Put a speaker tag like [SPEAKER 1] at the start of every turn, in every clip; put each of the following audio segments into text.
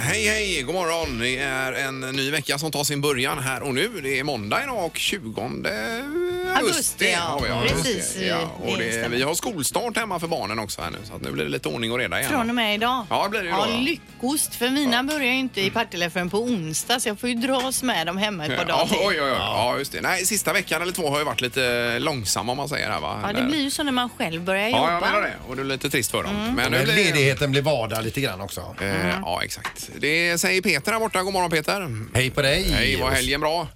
[SPEAKER 1] Hej, god morgon. Det är en ny vecka som tar sin början här och nu. Det är måndag idag och 20 augusti.
[SPEAKER 2] Augusti, ja. Mm.
[SPEAKER 1] har vi,
[SPEAKER 2] Precis,
[SPEAKER 1] Ja, och
[SPEAKER 2] det
[SPEAKER 1] det,
[SPEAKER 2] stämmer.
[SPEAKER 1] vi har skolstart hemma för barnen också här nu så att nu blir det lite ordning och reda igen.
[SPEAKER 2] Från och med idag.
[SPEAKER 1] Ja, det blir det idag, ja.
[SPEAKER 2] Ja, lyckost. För mina börjar ju inte i Partille förrän på onsdag så jag får ju dras med dem hemma ett par
[SPEAKER 1] Ja,
[SPEAKER 2] dagar
[SPEAKER 1] oj,
[SPEAKER 2] till.
[SPEAKER 1] oj, oj. Ja, just det. Nej, sista veckan eller två har ju varit lite långsamma om man säger här va?
[SPEAKER 2] Ja, det
[SPEAKER 1] Där.
[SPEAKER 2] blir ju Mm. så när man själv börjar
[SPEAKER 1] Ja, jag
[SPEAKER 2] jobba.
[SPEAKER 1] menar det. Och det är lite trist för dem. Men nu
[SPEAKER 3] Men
[SPEAKER 1] blir det...
[SPEAKER 3] ledigheten blir vardag lite grann också.
[SPEAKER 1] Eh,
[SPEAKER 2] Mm.
[SPEAKER 1] Ja, exakt. Det säger Peter här borta. God morgon Peter.
[SPEAKER 3] Hej på dig!
[SPEAKER 1] Hej, var helgen bra?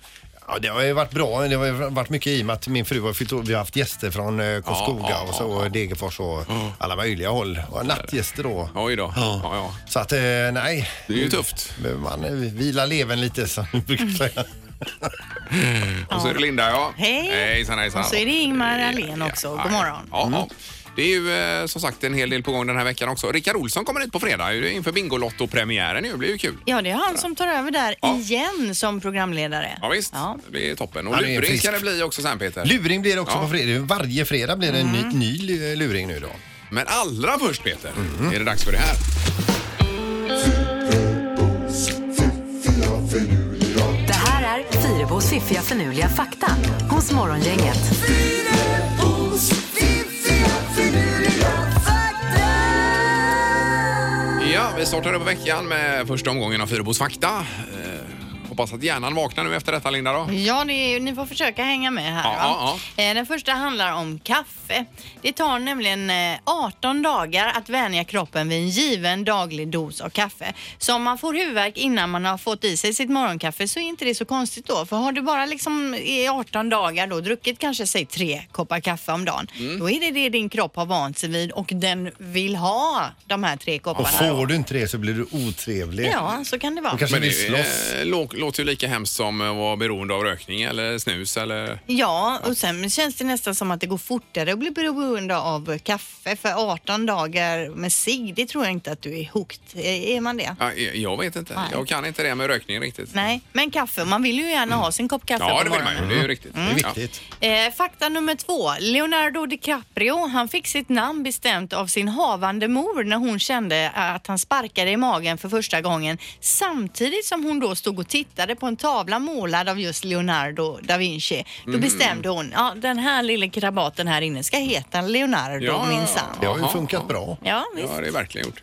[SPEAKER 3] Ja, det har ju varit bra. Det har ju varit mycket i och med att min fru har fyllt år. Vi har haft gäster från eh, Karlskoga
[SPEAKER 1] Ja, Mm. ja,
[SPEAKER 3] och så och Degerfors och alla möjliga håll. Och nattgäster då.
[SPEAKER 1] Oj då. Ja, ja.
[SPEAKER 3] Så att eh, nej.
[SPEAKER 1] Det är ju tufft.
[SPEAKER 3] Men Man eh, vilar leven lite som vi brukar säga.
[SPEAKER 1] Och så är det Linda, ja.
[SPEAKER 2] Hej.
[SPEAKER 1] Hejsan, hejsan.
[SPEAKER 2] Och så är det Ingmar Ahlén också. God morgon.
[SPEAKER 1] Ja, ja. Det är ju eh, som sagt en hel del på gång den här veckan också. Rickard Olsson kommer hit på fredag ju, inför Bingolotto-premiären. ju. Det blir ju kul.
[SPEAKER 2] Ja, det är han som tar över där
[SPEAKER 1] Ja.
[SPEAKER 2] igen som programledare.
[SPEAKER 1] Ja, visst.
[SPEAKER 2] Ja.
[SPEAKER 1] Det blir toppen. Och
[SPEAKER 3] Han är
[SPEAKER 1] luring
[SPEAKER 3] frisk.
[SPEAKER 1] ska det bli också sen, Peter.
[SPEAKER 3] Luring blir det också
[SPEAKER 1] Ja. Mm.
[SPEAKER 3] på fredag. Varje fredag blir det en ny, ny lu- eh, luring nu då.
[SPEAKER 1] Men allra först, Peter, är det dags för det här.
[SPEAKER 4] Det här är Fyrabos fiffiga förnuliga fakta hos Morgongänget.
[SPEAKER 1] Ja, vi startar upp veckan med första omgången av Fyrebos fakta. Eh, hoppas att hjärnan vaknar nu efter detta, Linda. Då.
[SPEAKER 2] Ja, det är, ni får försöka hänga med här.
[SPEAKER 1] Ja,
[SPEAKER 2] va? Eh, Den första handlar om kaffe. Det tar nämligen eh, 18 dagar att vänja kroppen vid en given daglig dos av kaffe. Så om man får huvudvärk innan man har fått i sig sitt morgonkaffe så är inte det så konstigt då. För har du bara liksom i 18 dagar då druckit kanske säg tre koppar kaffe om dagen, då är det det din kropp har vant sig vid och den vill ha de här tre
[SPEAKER 3] Och
[SPEAKER 2] kopparna.
[SPEAKER 3] får du inte det så blir du otrevlig.
[SPEAKER 2] Ja, så kan det vara.
[SPEAKER 3] Och kanske
[SPEAKER 1] Men
[SPEAKER 3] vill
[SPEAKER 1] det
[SPEAKER 3] slåss.
[SPEAKER 1] eh, lå- låter ju lika hemskt som att vara beroende av rökning eller snus eller...
[SPEAKER 2] Ja, och sen känns det nästan som att det går fortare att bli beroende av kaffe. För 18 dagar med cigg, det tror jag inte att du är hooked. Är är man det?
[SPEAKER 1] Ja, eh, jag vet inte.
[SPEAKER 2] Nej.
[SPEAKER 1] Jag kan inte det med rökning riktigt.
[SPEAKER 2] Nej, men kaffe. Man vill ju gärna ha sin kopp kaffe
[SPEAKER 1] Ja,
[SPEAKER 2] på
[SPEAKER 1] det vill man
[SPEAKER 2] morgonen.
[SPEAKER 1] ju. Det är ju riktigt.
[SPEAKER 3] Det är
[SPEAKER 1] Ja.
[SPEAKER 3] viktigt.
[SPEAKER 2] Eh, fakta nummer två. Leonardo DiCaprio, han fick sitt namn bestämt av sin havande mor när hon kände att han sparkade i magen för första gången. Samtidigt som hon då stod och tittade på en tavla målad av just Leonardo da Vinci. Då
[SPEAKER 1] Mhm.
[SPEAKER 2] bestämde hon, ja den här lilla krabaten här inne ska heta Leonardo
[SPEAKER 1] Ja, ja, ja.
[SPEAKER 2] minsann.
[SPEAKER 3] Det har ju
[SPEAKER 1] Jaha.
[SPEAKER 3] funkat bra.
[SPEAKER 2] Ja, visst.
[SPEAKER 1] Ja, det är verkligen gjort.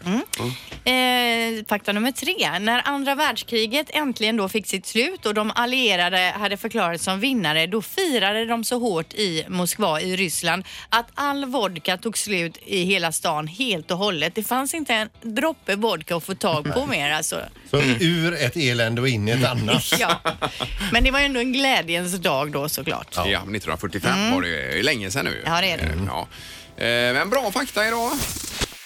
[SPEAKER 2] Eh, fakta nummer tre. När andra världskriget äntligen då fick sitt slut och de allierade hade förklarats som vinnare, då firade de så hårt i Moskva i Ryssland att all vodka tog slut i hela stan helt och hållet. Det fanns inte en droppe vodka att få tag på mer alltså.
[SPEAKER 3] Så
[SPEAKER 1] Mm.
[SPEAKER 3] ur ett elände och in i ett annat.
[SPEAKER 2] Ja. Men det var ju ändå en glädjens dag då såklart.
[SPEAKER 1] Ja, 1945 var det ju. Det är ju länge sedan nu. ju.
[SPEAKER 2] Mm. Ja, det är det.
[SPEAKER 1] Eh, Ja. Eh, Men bra fakta idag.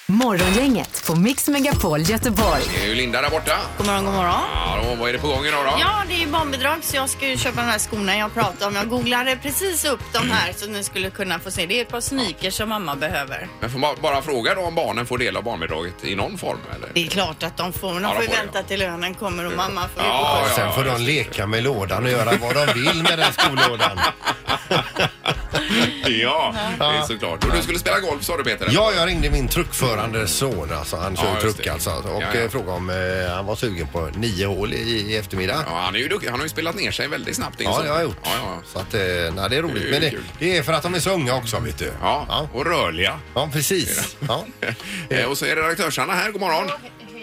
[SPEAKER 4] Morgongänget på Mix Megapol Göteborg.
[SPEAKER 1] Det är ju Linda där borta.
[SPEAKER 2] God morgon, god morgon.
[SPEAKER 1] Ja, då, vad är det på gång idag då?
[SPEAKER 2] Ja, det är ju barnbidrag så jag ska ju köpa de här skorna jag pratade om. Jag googlade precis upp de här så ni skulle kunna få se. Det är ett par sneakers som mamma behöver.
[SPEAKER 1] Men får man bara fråga då om barnen får del av barnbidraget i någon form? Eller?
[SPEAKER 2] Det är klart att de får.
[SPEAKER 1] Ja,
[SPEAKER 2] De
[SPEAKER 1] de
[SPEAKER 2] får ju
[SPEAKER 1] får det,
[SPEAKER 2] vänta
[SPEAKER 1] ja.
[SPEAKER 2] till lönen kommer och mamma får ju
[SPEAKER 1] Ja,
[SPEAKER 2] gå.
[SPEAKER 1] ja.
[SPEAKER 3] Sen får de leka med lådan och göra vad de vill med den skolådan.
[SPEAKER 1] ja, det är såklart. Och du skulle spela golf sa du Peter?
[SPEAKER 3] Ja, jag ringde min truckförande son, alltså, han kör
[SPEAKER 1] Ja,
[SPEAKER 3] ju
[SPEAKER 1] just
[SPEAKER 3] truck
[SPEAKER 1] det.
[SPEAKER 3] alltså, och
[SPEAKER 1] Ja, ja.
[SPEAKER 3] eh, frågade om eh, han var sugen på nio hål i, i eftermiddag.
[SPEAKER 1] Ja, han, är ju duktig. han har ju spelat ner sig väldigt snabbt.
[SPEAKER 3] Ja, det har jag gjort.
[SPEAKER 1] Ja, ja.
[SPEAKER 3] Så att, eh, nej, det är
[SPEAKER 1] Det är
[SPEAKER 3] roligt.
[SPEAKER 1] ju
[SPEAKER 3] Men det,
[SPEAKER 1] kul.
[SPEAKER 3] det är för att de är så unga också, vet du.
[SPEAKER 1] Ja,
[SPEAKER 3] ja.
[SPEAKER 1] och rörliga.
[SPEAKER 3] Ja, precis. Ja.
[SPEAKER 1] Eh, Och så är redaktörs-Anna här. God morgon.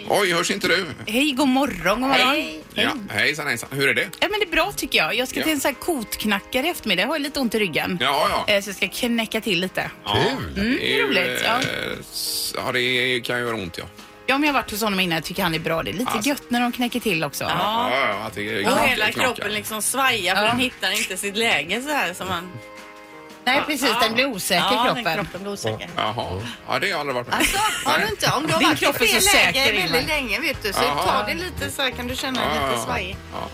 [SPEAKER 1] Oj, hörs inte du?
[SPEAKER 5] Hej, god morgon, god morgon.
[SPEAKER 1] Ja, hejsan, hejsan. Hur är det?
[SPEAKER 5] Ja, men det är bra tycker jag. Jag ska
[SPEAKER 1] Ja.
[SPEAKER 5] till en sån här kotknackare i eftermiddag. Jag har ju lite ont i ryggen.
[SPEAKER 1] Ja, ja.
[SPEAKER 5] Eh, Så jag ska knäcka till lite.
[SPEAKER 3] Kul.
[SPEAKER 1] Mm,
[SPEAKER 5] det är roligt, ja.
[SPEAKER 1] eh, ja, det är- kan ju göra ont, ja.
[SPEAKER 5] Ja, men jag har varit hos honom innan. Jag tycker han är bra. Det är lite
[SPEAKER 1] Alltså.
[SPEAKER 5] gött när de knäcker till också. Ja.
[SPEAKER 1] Ja, ja, att det
[SPEAKER 2] Och
[SPEAKER 1] knakar-
[SPEAKER 2] hela
[SPEAKER 1] knakar.
[SPEAKER 2] kroppen liksom svajar för
[SPEAKER 5] Ja.
[SPEAKER 2] den hittar inte sitt läge så här som man...
[SPEAKER 5] Nej, precis. Den blir osäker,
[SPEAKER 2] Ja, den
[SPEAKER 5] kroppen.
[SPEAKER 2] kroppen blir osäker.
[SPEAKER 1] Jaha. Ja, det har jag aldrig varit med
[SPEAKER 2] Alltså, har du
[SPEAKER 1] Nej.
[SPEAKER 2] inte, om du har
[SPEAKER 5] Din
[SPEAKER 2] varit i
[SPEAKER 5] kropp är
[SPEAKER 2] fel
[SPEAKER 5] så
[SPEAKER 2] läge
[SPEAKER 5] säker,
[SPEAKER 2] väldigt
[SPEAKER 5] Ingmar.
[SPEAKER 2] länge vet du, så
[SPEAKER 1] Jaha.
[SPEAKER 2] ta det lite så här kan du känna dig
[SPEAKER 1] Ja,
[SPEAKER 2] lite
[SPEAKER 1] ja,
[SPEAKER 2] svajig.
[SPEAKER 1] ja.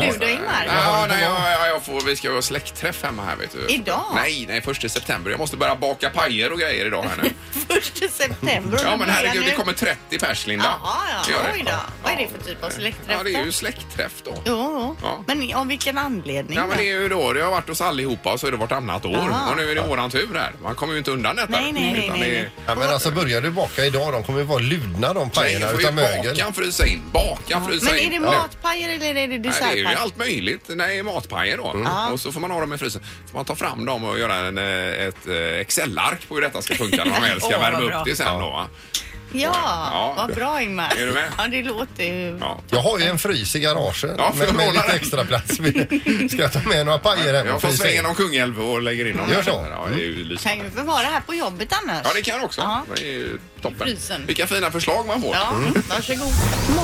[SPEAKER 2] Du då Ingmar?
[SPEAKER 1] Ja, nej, jag, jag, jag får, vi ska ha släktträff hemma här vet du.
[SPEAKER 2] Idag?
[SPEAKER 1] Nej, nej, första september. Jag måste börja baka pajer och grejer idag här nu.
[SPEAKER 2] Första september.
[SPEAKER 1] Ja men herregud,
[SPEAKER 2] nu.
[SPEAKER 1] det kommer 30 pers Linda.
[SPEAKER 2] Jaha,
[SPEAKER 1] Gör
[SPEAKER 2] ja.
[SPEAKER 1] det.
[SPEAKER 2] Oj då. Vad är det för typ av släktträff?
[SPEAKER 1] Ja, det är ju
[SPEAKER 2] då?
[SPEAKER 1] släktträff då.
[SPEAKER 2] Jo,
[SPEAKER 1] Ja.
[SPEAKER 2] jo. Men av vilken anledning?
[SPEAKER 1] Ja men
[SPEAKER 2] då?
[SPEAKER 1] det är ju då, det har varit hos allihopa och så är det vartannat år.
[SPEAKER 2] Jaha.
[SPEAKER 1] Och nu är det våran tur här. Man kommer ju inte undan detta.
[SPEAKER 2] Nej, nej, nej,
[SPEAKER 1] Utan
[SPEAKER 2] nej,
[SPEAKER 1] det är-
[SPEAKER 2] nej.
[SPEAKER 3] Ja, men alltså börjar du baka idag, de kommer ju vara ludna de
[SPEAKER 1] Nej,
[SPEAKER 3] pajerna
[SPEAKER 1] får
[SPEAKER 3] utan
[SPEAKER 1] ju
[SPEAKER 3] mögel.
[SPEAKER 1] bakan frysa in. Bakan frysa
[SPEAKER 2] Men är
[SPEAKER 1] in.
[SPEAKER 2] det
[SPEAKER 1] Ja.
[SPEAKER 2] matpajer eller är det
[SPEAKER 1] Nej, det är ju
[SPEAKER 2] dessertpajer?
[SPEAKER 1] allt möjligt. Nej, matpajer då.
[SPEAKER 3] Mm.
[SPEAKER 1] Och så får man ha dem i frysen. Får man ta fram dem och göra en, eh, ett eh, Excel-ark på hur detta ska funka när man väl ska
[SPEAKER 2] Åh, vad
[SPEAKER 1] värma
[SPEAKER 2] bra.
[SPEAKER 1] upp det sen då. va?
[SPEAKER 2] Ja,
[SPEAKER 1] Ja.
[SPEAKER 2] vad bra Ingmar.
[SPEAKER 1] Är du med?
[SPEAKER 2] Ja, det låter ju...
[SPEAKER 1] Ja.
[SPEAKER 3] Jag har ju en frys i garaget
[SPEAKER 1] Ja, för
[SPEAKER 3] med, med
[SPEAKER 1] låna
[SPEAKER 3] lite
[SPEAKER 1] den.
[SPEAKER 3] extra plats. Ska jag ta med några pajer hem
[SPEAKER 1] Jag
[SPEAKER 3] och
[SPEAKER 1] får
[SPEAKER 3] frysa
[SPEAKER 1] svänga
[SPEAKER 3] in?
[SPEAKER 1] någon Kungälv och lägger in dem.
[SPEAKER 3] Gör så.
[SPEAKER 1] Ja, det är ju
[SPEAKER 2] Mm. Kan
[SPEAKER 1] lysande.
[SPEAKER 2] ju förvara här på jobbet annars.
[SPEAKER 1] Ja, det kan jag också.
[SPEAKER 2] Ja.
[SPEAKER 1] Det är ju toppen.
[SPEAKER 2] Frysen.
[SPEAKER 1] Vilka fina förslag man får.
[SPEAKER 2] Ja, varsågod.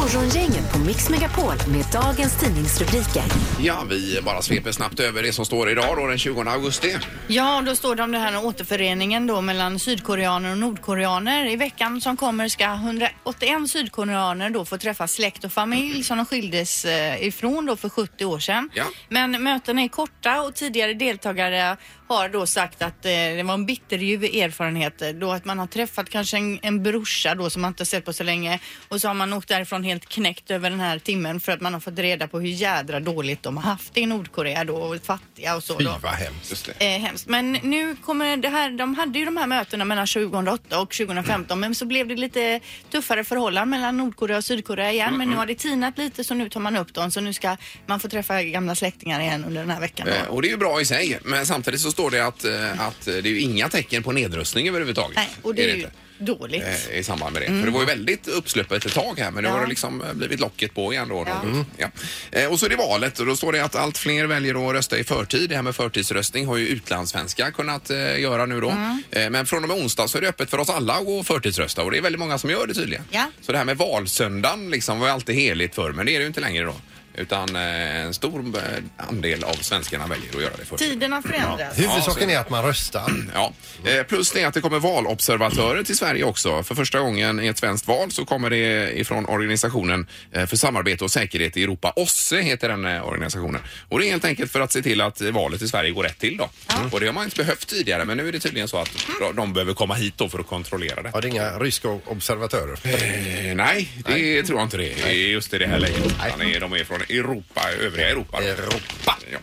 [SPEAKER 4] Morgongänget på Mix Megapol med dagens tidningsrubriker.
[SPEAKER 1] Ja, vi bara sveper snabbt över det som står idag då den 20 augusti.
[SPEAKER 2] Ja, då står det om den här återföreningen då mellan sydkoreaner och nordkoreaner. I veckan som kommer ska 181 sydkoreaner då få träffa släkt och familj som de skildes eh, ifrån då för 70 år sedan.
[SPEAKER 1] Ja.
[SPEAKER 2] Men mötena är korta och tidigare deltagare har då sagt att eh, det var en bitterljuv erfarenhet eh, då att man har träffat kanske en, en brorsa då som man inte sett på så länge och så har man åkt därifrån helt knäckt över den här timmen för att man har fått reda på hur jädra dåligt de har haft det i Nordkorea då och fattiga och så
[SPEAKER 3] Fy
[SPEAKER 2] då.
[SPEAKER 3] vad hemskt.
[SPEAKER 1] Just det.
[SPEAKER 2] Eh, hemskt. Men nu kommer det här, de hade ju de här mötena mellan 2008 och 2015 men så blev det lite tuffare förhållanden mellan Nordkorea och Sydkorea igen men nu har det tinat lite så nu tar man upp dem så nu ska man få träffa gamla släktingar igen under den här veckan.
[SPEAKER 1] Eh, Och det är ju bra i sig, men samtidigt så står det att, eh, att eh, det är ju inga tecken på nedrustning överhuvudtaget.
[SPEAKER 2] Nej, och det är ju
[SPEAKER 1] inte.
[SPEAKER 2] dåligt.
[SPEAKER 1] Eh, i samband med det. För det
[SPEAKER 2] Mm.
[SPEAKER 1] var ju väldigt uppsluppet ett tag här men nu har det liksom eh, blivit locket på igen då.
[SPEAKER 2] Ja.
[SPEAKER 1] Mm. Ja. Eh, Och så är det valet och då står det att allt fler väljer att rösta i förtid. Det här med förtidsröstning har ju utlandssvenskar kunnat eh, göra nu då. Eh, men från och med onsdag så är det öppet för oss alla att gå och förtidsrösta och det är väldigt många som gör det tydligen.
[SPEAKER 2] Ja.
[SPEAKER 1] Så det här med valsöndagen liksom var ju alltid heligt förr men det är det ju inte längre då. Utan eh, en stor eh, andel av svenskarna väljer att göra det förtid.
[SPEAKER 2] Tiderna förändras.
[SPEAKER 3] Huvudsaken är att man röstar.
[SPEAKER 1] Ja. Eh, Plus det att det kommer valobservatörer till Sverige också. För första gången i ett svenskt val så kommer det ifrån organisationen eh, för samarbete och säkerhet i Europa. OSSE heter den eh, organisationen. Och det är helt enkelt för att se till att eh, valet i Sverige går rätt till då. Och det har man inte behövt tidigare men nu är det tydligen så att de- de behöver komma hit då för att kontrollera det.
[SPEAKER 3] Mm. Ja, det är inga ryska observatörer.
[SPEAKER 1] Eh, Nej, det tror jag inte det är just i det här läget. Utan det är- De är från Europa, övriga Europa. då.
[SPEAKER 3] Europa.
[SPEAKER 1] Ja.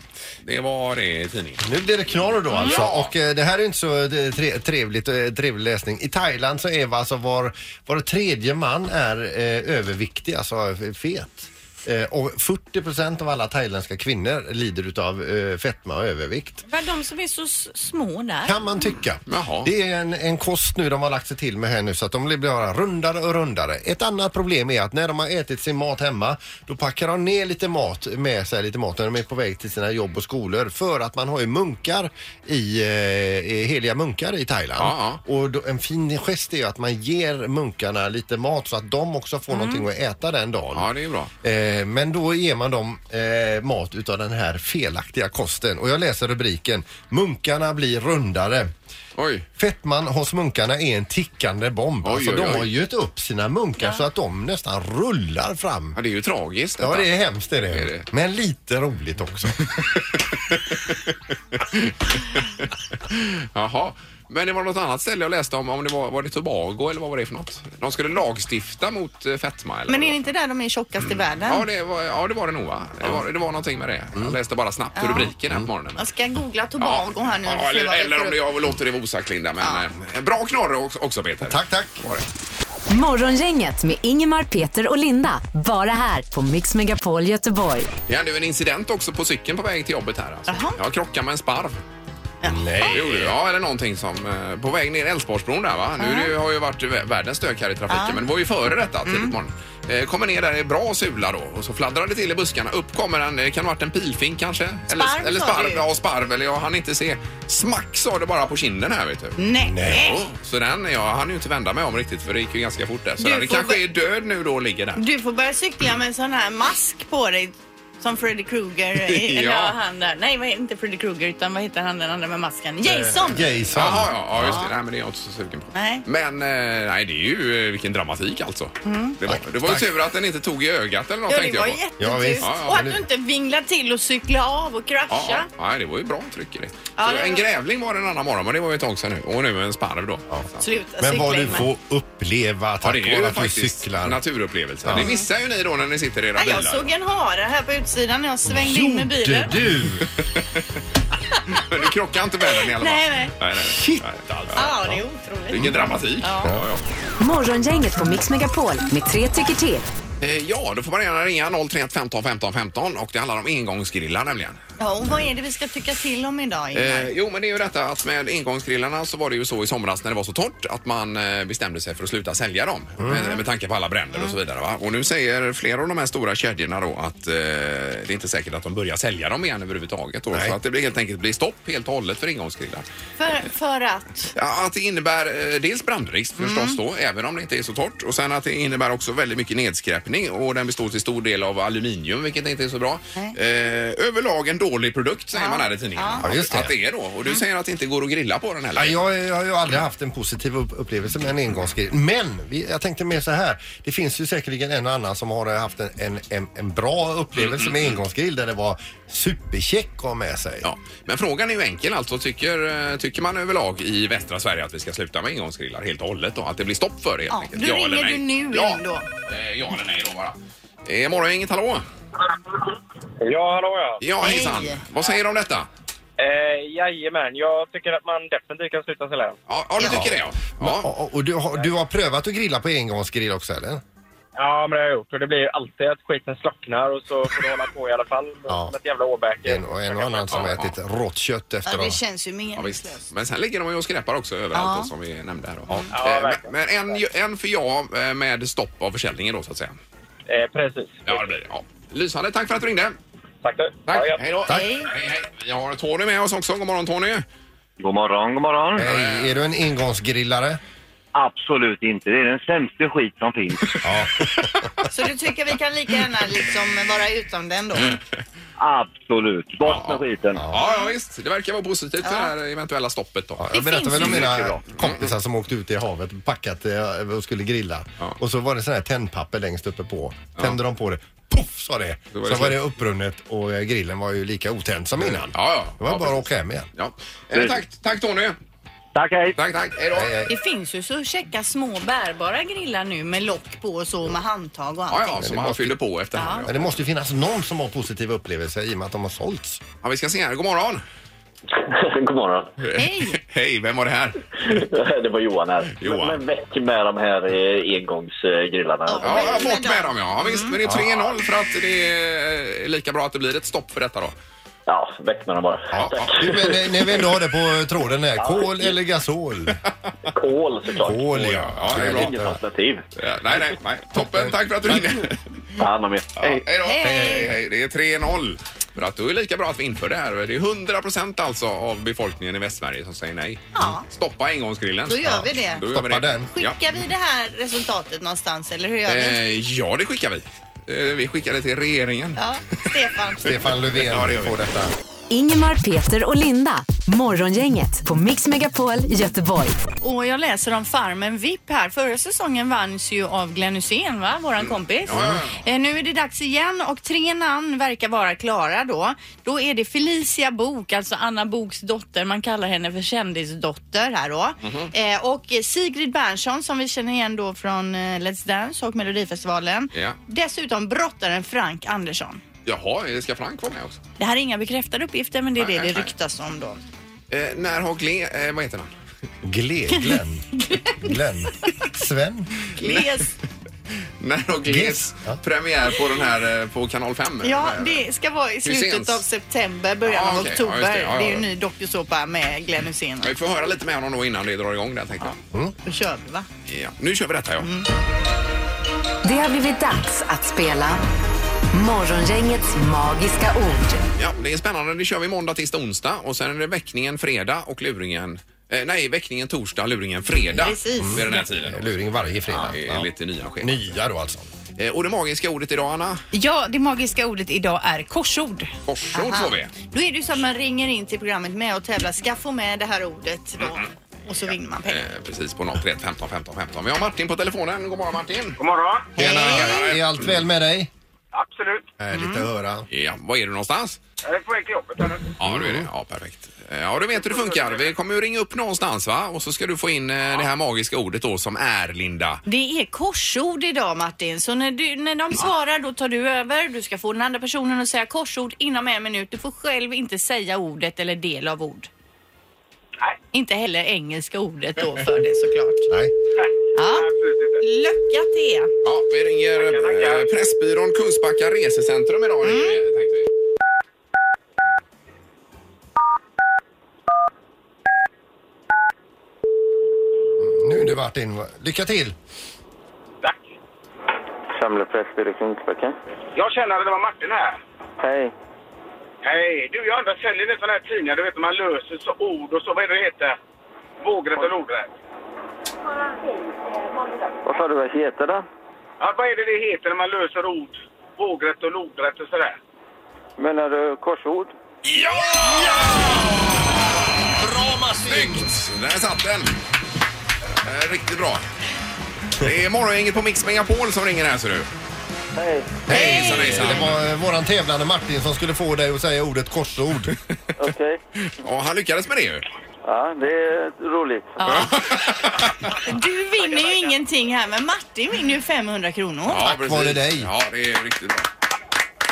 [SPEAKER 1] Det var det i tidningen.
[SPEAKER 3] Nu blir det knorr då alltså. Och eh, det här är inte så eh, tre, trevligt, eh, trevlig läsning. I Thailand så är va alltså var, var tredje man är eh, överviktig, alltså fet. Eh, och 40 procent av alla thailändska kvinnor lider utav eh, fetma och övervikt.
[SPEAKER 2] För de som är så s- små där.
[SPEAKER 3] Kan man tycka.
[SPEAKER 1] Jaha.
[SPEAKER 3] Det är en, en kost nu de har lagt sig till med här nu så att de blir bara rundare och rundare. Ett annat problem är att när de har ätit sin mat hemma då packar de ner lite mat med sig, lite mat när de är på väg till sina jobb och skolor för att man har ju munkar i, eh, i heliga munkar i Thailand.
[SPEAKER 1] Ja,
[SPEAKER 3] Och då, en fin gest är ju att man ger munkarna lite mat så att de också får någonting att äta den dagen.
[SPEAKER 1] Mm. Ja, det är bra.
[SPEAKER 3] Eh, Men då ger man dem eh, mat utav den här felaktiga kosten. Och jag läser rubriken Munkarna blir rundare.
[SPEAKER 1] Oj.
[SPEAKER 3] Fettman hos munkarna är en tickande bomb.
[SPEAKER 1] Oj,
[SPEAKER 3] alltså,
[SPEAKER 1] oj,
[SPEAKER 3] De
[SPEAKER 1] oj.
[SPEAKER 3] har gjut upp sina munkar så att de nästan rullar fram.
[SPEAKER 1] Ja, det är ju tragiskt.
[SPEAKER 3] Ja,
[SPEAKER 1] detta.
[SPEAKER 3] det är hemskt är det.
[SPEAKER 1] Är det?
[SPEAKER 3] Men lite roligt också.
[SPEAKER 1] Jaha. Men det var något annat ställe jag läste om, om det var, var det Tobago eller vad var det för något? De skulle lagstifta mot eh, fetma eller?
[SPEAKER 2] Men är
[SPEAKER 1] vad?
[SPEAKER 2] det inte där de är tjockast i världen?
[SPEAKER 1] Ja det, var, ja, det var det nog va? Det var, det var någonting med det.
[SPEAKER 2] Mm.
[SPEAKER 1] Jag läste bara snabbt på rubriken här på morgonen.
[SPEAKER 2] Jag ska googla Mm. Alltså, Tobago här nu.
[SPEAKER 1] ja,
[SPEAKER 2] och se
[SPEAKER 1] eller,
[SPEAKER 2] vad vi
[SPEAKER 1] eller
[SPEAKER 2] får
[SPEAKER 1] om det,
[SPEAKER 2] upp.
[SPEAKER 1] jag låter det vara osagt Linda. Men eh, bra knorr också- också Peter.
[SPEAKER 3] tack, tack.
[SPEAKER 1] Var det.
[SPEAKER 4] Morgongänget med Ingemar, Peter och Linda. Bara här på Mix Megapol Göteborg.
[SPEAKER 1] Det hände ju en incident också på cykeln på väg till jobbet här. Alltså.
[SPEAKER 2] Jaha.
[SPEAKER 1] Jag krockade med en sparv.
[SPEAKER 3] Nej.
[SPEAKER 1] Det gjorde du, ja eller någonting som eh, på väg ner Älvsborgsbron där va. Nu är det, ju- har ju varit vä- världens stök här i trafiken men det var ju före detta tidigt
[SPEAKER 2] Mm.
[SPEAKER 1] morgon. Eh, Kommer ner där, är bra sula då och så fladdrar det till i buskarna. Upp kommer en, eh, kan ha varit en pilfink kanske?
[SPEAKER 2] Sparv,
[SPEAKER 1] eller, eller
[SPEAKER 2] sa
[SPEAKER 1] sparv,
[SPEAKER 2] du?
[SPEAKER 1] ja sparv eller jag hann inte se. Smack sa det bara på kinden här vet du.
[SPEAKER 2] Nej.
[SPEAKER 1] Ja, Så den, jag hann ju inte vända mig om riktigt för det gick ju ganska fort där. Så
[SPEAKER 2] Du
[SPEAKER 1] den
[SPEAKER 2] får
[SPEAKER 1] kanske
[SPEAKER 2] vä-
[SPEAKER 1] är död nu då och ligger där.
[SPEAKER 2] Du får börja cykla med en sån här mask på dig Som Freddy Krueger. eh,
[SPEAKER 1] Ja.
[SPEAKER 2] ja. han där. Nej, vad- inte Freddy Krueger utan vad heter han den andra med masken? Jason!
[SPEAKER 3] Jason.
[SPEAKER 1] Jaha, ja, ja, just det. Nej, men det är jag inte så sugen på.
[SPEAKER 2] Nej.
[SPEAKER 1] Men eh, nej, det är ju eh, vilken dramatik alltså. Det var, det var ju
[SPEAKER 3] Tack.
[SPEAKER 1] tur att den inte tog i ögat eller något
[SPEAKER 2] Mm.
[SPEAKER 1] tänkte
[SPEAKER 2] Ja, det var
[SPEAKER 1] jag på.
[SPEAKER 2] jättetyst.
[SPEAKER 3] Ja, visst.
[SPEAKER 1] Ja, ja,
[SPEAKER 2] och att
[SPEAKER 3] men
[SPEAKER 2] du
[SPEAKER 3] det-
[SPEAKER 2] inte vinglar till och cykla av och
[SPEAKER 1] Ja,
[SPEAKER 2] krascha.
[SPEAKER 1] ja. Nej, det var ju bra tryck i det.
[SPEAKER 2] Ja,
[SPEAKER 1] Så
[SPEAKER 2] det var-
[SPEAKER 1] En grävling var det en annan morgon, men det var ju ett tag sedan nu. Och nu en sparv då. Ja.
[SPEAKER 2] Sluta
[SPEAKER 3] Men
[SPEAKER 2] cykla
[SPEAKER 3] vad du
[SPEAKER 2] Ingmar.
[SPEAKER 3] får uppleva
[SPEAKER 1] Ja,
[SPEAKER 3] tack
[SPEAKER 1] det är
[SPEAKER 3] vare
[SPEAKER 1] ju
[SPEAKER 3] att du
[SPEAKER 1] faktiskt
[SPEAKER 3] cyklar.
[SPEAKER 1] naturupplevelser.
[SPEAKER 3] Ja.
[SPEAKER 1] Det missar ju ni då när ni sitter i era
[SPEAKER 2] Nej,
[SPEAKER 1] bilar.
[SPEAKER 2] jag såg en hare här på utsidan när jag svängde in med
[SPEAKER 3] Gjorde
[SPEAKER 2] bilen.
[SPEAKER 3] du?
[SPEAKER 1] Du krockar inte med den i alla fall.
[SPEAKER 2] Nej, nej.
[SPEAKER 1] nej, nej.
[SPEAKER 3] Shit
[SPEAKER 1] Nej.
[SPEAKER 3] alltså.
[SPEAKER 2] Ja, det är otroligt.
[SPEAKER 1] Vilken dramatik. Ja. Ja,
[SPEAKER 4] Morgongänget på Mix Megapol med tre tycker till.
[SPEAKER 1] Eh, ja, då får man gärna ringa 031 15 15 15 och det handlar om engångsgrillar nämligen.
[SPEAKER 2] Ja, och vad är det vi ska tycka till om idag Ingmar?
[SPEAKER 1] Eh, jo, men det är ju detta att med engångsgrillarna så var det ju så i somras när det var så torrt att man eh, bestämde sig för att sluta sälja dem med, med tanke på alla bränder och så vidare. Va? Och nu säger flera av de här stora kedjorna då att eh, det är inte säkert att de börjar sälja dem igen överhuvudtaget. Då,
[SPEAKER 3] Nej.
[SPEAKER 1] så att det blir helt enkelt blir stopp helt och hållet för engångsgrillar.
[SPEAKER 2] För, för att?
[SPEAKER 1] Ja, att det innebär eh, dels brandrisk
[SPEAKER 2] Mm.
[SPEAKER 1] förstås då, även om det inte är så torrt. Och sen att det innebär också väldigt mycket nedskräpning och den består till stor del av aluminium, vilket inte är så bra. Eh, överlag en dålig produkt säger man här i tidningen.
[SPEAKER 3] Ja, just det.
[SPEAKER 1] Att det är då. Och
[SPEAKER 2] Mm.
[SPEAKER 1] du säger att det inte går att grilla på den
[SPEAKER 3] Ja,
[SPEAKER 1] heller.
[SPEAKER 3] jag, jag har ju aldrig haft en positiv upp- upplevelse med en engångsgrill. Men vi, jag tänkte mer så här. Det finns ju säkerligen en och annan som har eh, haft en, en, en, en bra upplevelse med engångsgrill där det var supercheck att ha med sig.
[SPEAKER 1] Ja. Men frågan är ju enkel alltså. Tycker, eh, tycker man överlag i västra Sverige att vi ska sluta med engångsgrillar helt och hållet då? Att det blir stopp för det helt
[SPEAKER 2] Ja,
[SPEAKER 1] enkelt?
[SPEAKER 2] då ringer du nu
[SPEAKER 1] ja.
[SPEAKER 2] in då.
[SPEAKER 1] Eh, Ja eller nej då bara. Eh, Morgongänget, hallå?
[SPEAKER 6] Ja, hallå ja.
[SPEAKER 1] Ja,
[SPEAKER 2] Hej.
[SPEAKER 1] hejsan. Vad säger du om detta?
[SPEAKER 6] Eh, jajamän, jag tycker att man definitivt kan sluta sälja den.
[SPEAKER 1] Ja, ja du tycker det ja. ja.
[SPEAKER 3] Och, och- och du, har, du har prövat att grilla på engångsgrill också eller?
[SPEAKER 6] Ja, men det har jag gjort. Och det blir ju alltid att skiten slocknar och så får du hålla på i alla fall.
[SPEAKER 3] Ja.
[SPEAKER 6] Som ett jävla åbäke.
[SPEAKER 3] En, och en och annan som har ätit rått kött
[SPEAKER 2] Ja,
[SPEAKER 3] efteråt.
[SPEAKER 2] det känns ju
[SPEAKER 1] Ja, visst.
[SPEAKER 2] meningslöst.
[SPEAKER 1] Men sen ligger de ju och skräpar också överallt
[SPEAKER 2] Ja.
[SPEAKER 1] då, som vi nämnde här. Då. Eh,
[SPEAKER 6] Ja,
[SPEAKER 1] men
[SPEAKER 6] verkligen.
[SPEAKER 1] men en, ju- en för ja eh, med stopp av försäljningen då så att säga.
[SPEAKER 6] Eh, precis.
[SPEAKER 1] Ja, det blir det. Ja. Lysande, tack för att du ringde.
[SPEAKER 6] Tack du.
[SPEAKER 1] Tack.
[SPEAKER 6] Ha det gött.
[SPEAKER 1] hej då.
[SPEAKER 3] Tack.
[SPEAKER 1] Hej, hej. Vi har Tony med oss också. God morgon Tony.
[SPEAKER 7] God morgon, god morgon.
[SPEAKER 1] Eh.
[SPEAKER 3] Hej, är du en engångsgrillare?
[SPEAKER 7] Absolut inte. Det är den sämsta skit som finns.
[SPEAKER 3] Ja.
[SPEAKER 2] Så du tycker vi kan lika gärna liksom vara utan den
[SPEAKER 1] Mm.
[SPEAKER 2] då?
[SPEAKER 7] Absolut. Bort
[SPEAKER 1] Ja.
[SPEAKER 7] med skiten.
[SPEAKER 1] Ja, ja visst. Det verkar vara positivt för det här eventuella stoppet då.
[SPEAKER 3] Jag berättade
[SPEAKER 2] finns
[SPEAKER 3] väl om
[SPEAKER 2] ju
[SPEAKER 7] mycket
[SPEAKER 3] mina
[SPEAKER 7] bra.
[SPEAKER 3] kompisar som åkte ut i havet och packat eh, och skulle grilla.
[SPEAKER 1] Ja.
[SPEAKER 3] Och så var det sån här tändpapper längst uppe på. Tände de på det, poff sa det.
[SPEAKER 1] Då var det
[SPEAKER 3] så var det
[SPEAKER 1] slut.
[SPEAKER 3] upprunnet och eh, grillen var ju lika otänd som innan.
[SPEAKER 1] Ja, ja.
[SPEAKER 3] Det var
[SPEAKER 1] Ja,
[SPEAKER 3] bara att
[SPEAKER 1] precis.
[SPEAKER 3] åka hem igen.
[SPEAKER 1] Ja. Eh, tack, tack Tony.
[SPEAKER 7] Tack, hej.
[SPEAKER 1] Tack, tack. Hej då.
[SPEAKER 3] Hej, hej.
[SPEAKER 2] Det finns ju så käcka små bärbara grillar nu med lock på och så med handtag och
[SPEAKER 1] Ja,
[SPEAKER 2] allting.
[SPEAKER 1] ja, som han fyller på efterhand.
[SPEAKER 3] Men
[SPEAKER 1] Ja.
[SPEAKER 3] det måste ju finnas någon som har positiva upplevelser i och med att de har sålts.
[SPEAKER 1] Ja, vi ska se här. God morgon.
[SPEAKER 7] god morgon.
[SPEAKER 2] Hej.
[SPEAKER 1] Hej, vem var det här?
[SPEAKER 7] Det var Johan här.
[SPEAKER 1] Johan.
[SPEAKER 7] Men väck med de här eh, engångsgrillarna.
[SPEAKER 2] Ja.
[SPEAKER 1] Ja, bort med dem ja. ja visst, men det är 3-0 för att det är lika bra att det blir ett stopp för detta då. Eh,
[SPEAKER 7] Ja, väck med dem bara.
[SPEAKER 1] Ja,
[SPEAKER 7] Tack.
[SPEAKER 1] ja.
[SPEAKER 3] Du, men, eh, när vi ändå har det på tråden här, kol eller gasol?
[SPEAKER 7] Kol såklart.
[SPEAKER 3] Kol
[SPEAKER 1] ja.
[SPEAKER 3] ja.
[SPEAKER 1] Ja, det är bra.
[SPEAKER 7] Inget alternativ.
[SPEAKER 1] Ja, Nej, nej, nej. Toppen, tack för att du ringde.
[SPEAKER 7] Ta hand om er.
[SPEAKER 1] Ja,
[SPEAKER 7] Hej.
[SPEAKER 1] hej då. Hej, hej, hej. Det är 3-0. För att då är det lika bra att vi inför det här. Det är 100 procent alltså av befolkningen i Västsverige som säger nej.
[SPEAKER 2] Ja.
[SPEAKER 1] Stoppa engångsgrillen.
[SPEAKER 2] Då gör vi det.
[SPEAKER 1] Då gör vi
[SPEAKER 3] Stoppa
[SPEAKER 1] det.
[SPEAKER 3] den.
[SPEAKER 1] Ja.
[SPEAKER 2] Skickar vi det här resultatet någonstans eller hur gör vi?
[SPEAKER 1] Eh, ja, det skickar vi. Eh, vi skickar det till regeringen.
[SPEAKER 2] Ja, Stefan.
[SPEAKER 3] Stefan Löfven
[SPEAKER 1] Ja, det gör vi.
[SPEAKER 3] får detta.
[SPEAKER 4] Ingemar, Peter och Linda. Morgongänget på Mix Megapol Göteborg.
[SPEAKER 2] Och jag läser om Farmen VIP här. Förra säsongen vanns ju av Glenn Hysén, va? Våran
[SPEAKER 1] Mm.
[SPEAKER 2] kompis. Eh, Nu är det dags igen och tre namn verkar vara klara då. Då är det Felicia Bok, alltså Anna Boks dotter. Man kallar henne för kändisdotter här då.
[SPEAKER 1] Mhm.
[SPEAKER 2] eh, och Sigrid Bernson som vi känner igen då från eh, Let's Dance och Melodifestivalen.
[SPEAKER 1] Ja.
[SPEAKER 2] Dessutom brottaren Frank Andersson.
[SPEAKER 1] Jaha, eh, ska Frank vara med också?
[SPEAKER 2] Det här är inga bekräftade uppgifter men det är
[SPEAKER 1] Nej,
[SPEAKER 2] det
[SPEAKER 1] nej,
[SPEAKER 2] det
[SPEAKER 1] nej.
[SPEAKER 2] ryktas om då.
[SPEAKER 1] Eh, när har Gle... Eh, vad heter han?
[SPEAKER 3] Gle, Glenn. Glenn. Sven.
[SPEAKER 2] Gles.
[SPEAKER 1] När har Gles
[SPEAKER 3] Gles, ja.
[SPEAKER 1] premiär på den här eh, på kanal Eh, 5?
[SPEAKER 2] Ja, det ska vara i slutet
[SPEAKER 1] Hyséns.
[SPEAKER 2] av september, början
[SPEAKER 1] Ja,
[SPEAKER 2] av
[SPEAKER 1] okej.
[SPEAKER 2] oktober.
[SPEAKER 1] Ja, just
[SPEAKER 2] det.
[SPEAKER 1] det. Ja,
[SPEAKER 2] är ju
[SPEAKER 1] ja.
[SPEAKER 2] en ny dokusåpa med Glenn Hysén.
[SPEAKER 1] Vi får höra lite med honom då innan det drar igång där tänkte
[SPEAKER 2] Då kör vi va?
[SPEAKER 1] jag. Ja. Nu kör vi detta ja.
[SPEAKER 2] Mm.
[SPEAKER 4] Det har blivit dags att spela Morgongängets magiska ord.
[SPEAKER 1] ja. Det är spännande. Det kör vi måndag, tisdag, onsdag och sen är det väckningen fredag och luringen eh, Nej, väckningen torsdag, luringen fredag.
[SPEAKER 2] Precis.
[SPEAKER 1] Vid den här tiden. då.
[SPEAKER 3] Luring varje fredag.
[SPEAKER 1] Det är
[SPEAKER 3] Ja.
[SPEAKER 1] lite nya scheman.
[SPEAKER 3] Nya då alltså.
[SPEAKER 1] Eh, Och det magiska ordet idag, Anna?
[SPEAKER 5] Ja, det magiska ordet idag är korsord.
[SPEAKER 1] Korsord får vi.
[SPEAKER 2] Då är det ju så att man ringer in till programmet med och tävlar. Skaffa med det här ordet då. Och så vinner man pengar.
[SPEAKER 1] Eh, Precis på 031 15 15 15. Vi har Martin på telefonen. God morgon Martin!
[SPEAKER 6] God morgon.
[SPEAKER 3] Tjena! Är allt väl med dig? Mm.
[SPEAKER 6] Absolut.
[SPEAKER 3] Härligt att höra.
[SPEAKER 1] Ja, var är du någonstans?
[SPEAKER 6] Jag är på väg till jobbet här nu.
[SPEAKER 1] Ja, du är det. Ja, perfekt. Eh, Ja, du vet hur det funkar. Vi kommer ju ringa upp någonstans va? Och så ska du få in eh, det här magiska ordet då som är Linda.
[SPEAKER 2] Det är korsord idag Martin, så när, du, när de svarar då tar du över. Du ska få den andra personen att säga korsord inom en minut. Du får själv inte säga ordet eller del av ord.
[SPEAKER 6] Nej.
[SPEAKER 2] Inte heller engelska ordet då för det såklart.
[SPEAKER 3] Nej.
[SPEAKER 2] Ja.
[SPEAKER 6] Absolut inte.
[SPEAKER 2] Lycka till!
[SPEAKER 1] Ja, vi ringer
[SPEAKER 6] Tackar, tackar.
[SPEAKER 1] eh, Pressbyrån Kungsbacka Resecentrum idag. ringer vi, tänkte vi.
[SPEAKER 3] Nu du Martin, lycka till!
[SPEAKER 6] Tack.
[SPEAKER 7] Samla pressbyrå Kungsbacka.
[SPEAKER 6] Jag känner att det var Martin här.
[SPEAKER 7] Hej.
[SPEAKER 6] Hej, du jag undrar, säljer ni sådana här tidningar? Du vet man löser så ord och så, vad är det det heter? Vågrätt och lodrätt.
[SPEAKER 7] Vad sa du vad heter det?
[SPEAKER 6] Ja, vad är det det heter när man löser ord? Vågrätt och lodrätt och sådär.
[SPEAKER 7] Menar du korsord?
[SPEAKER 1] Ja! Bra Martin! Snyggt! Där satt den! Eh, Riktigt bra. Det är morgongänget på Mix Megapol som ringer här ser du.
[SPEAKER 7] Hej.
[SPEAKER 1] Hejsan hejsan!
[SPEAKER 3] Det var eh, våran tävlande Martin som skulle få dig att säga ordet korsord.
[SPEAKER 7] Okej.
[SPEAKER 1] Ja, han lyckades med det ju.
[SPEAKER 7] Ja, det är roligt.
[SPEAKER 2] Du vinner ju ingenting här, men Martin vinner ju 500 kronor.
[SPEAKER 1] Tack
[SPEAKER 3] vare dig.
[SPEAKER 1] Ja, det är riktigt bra.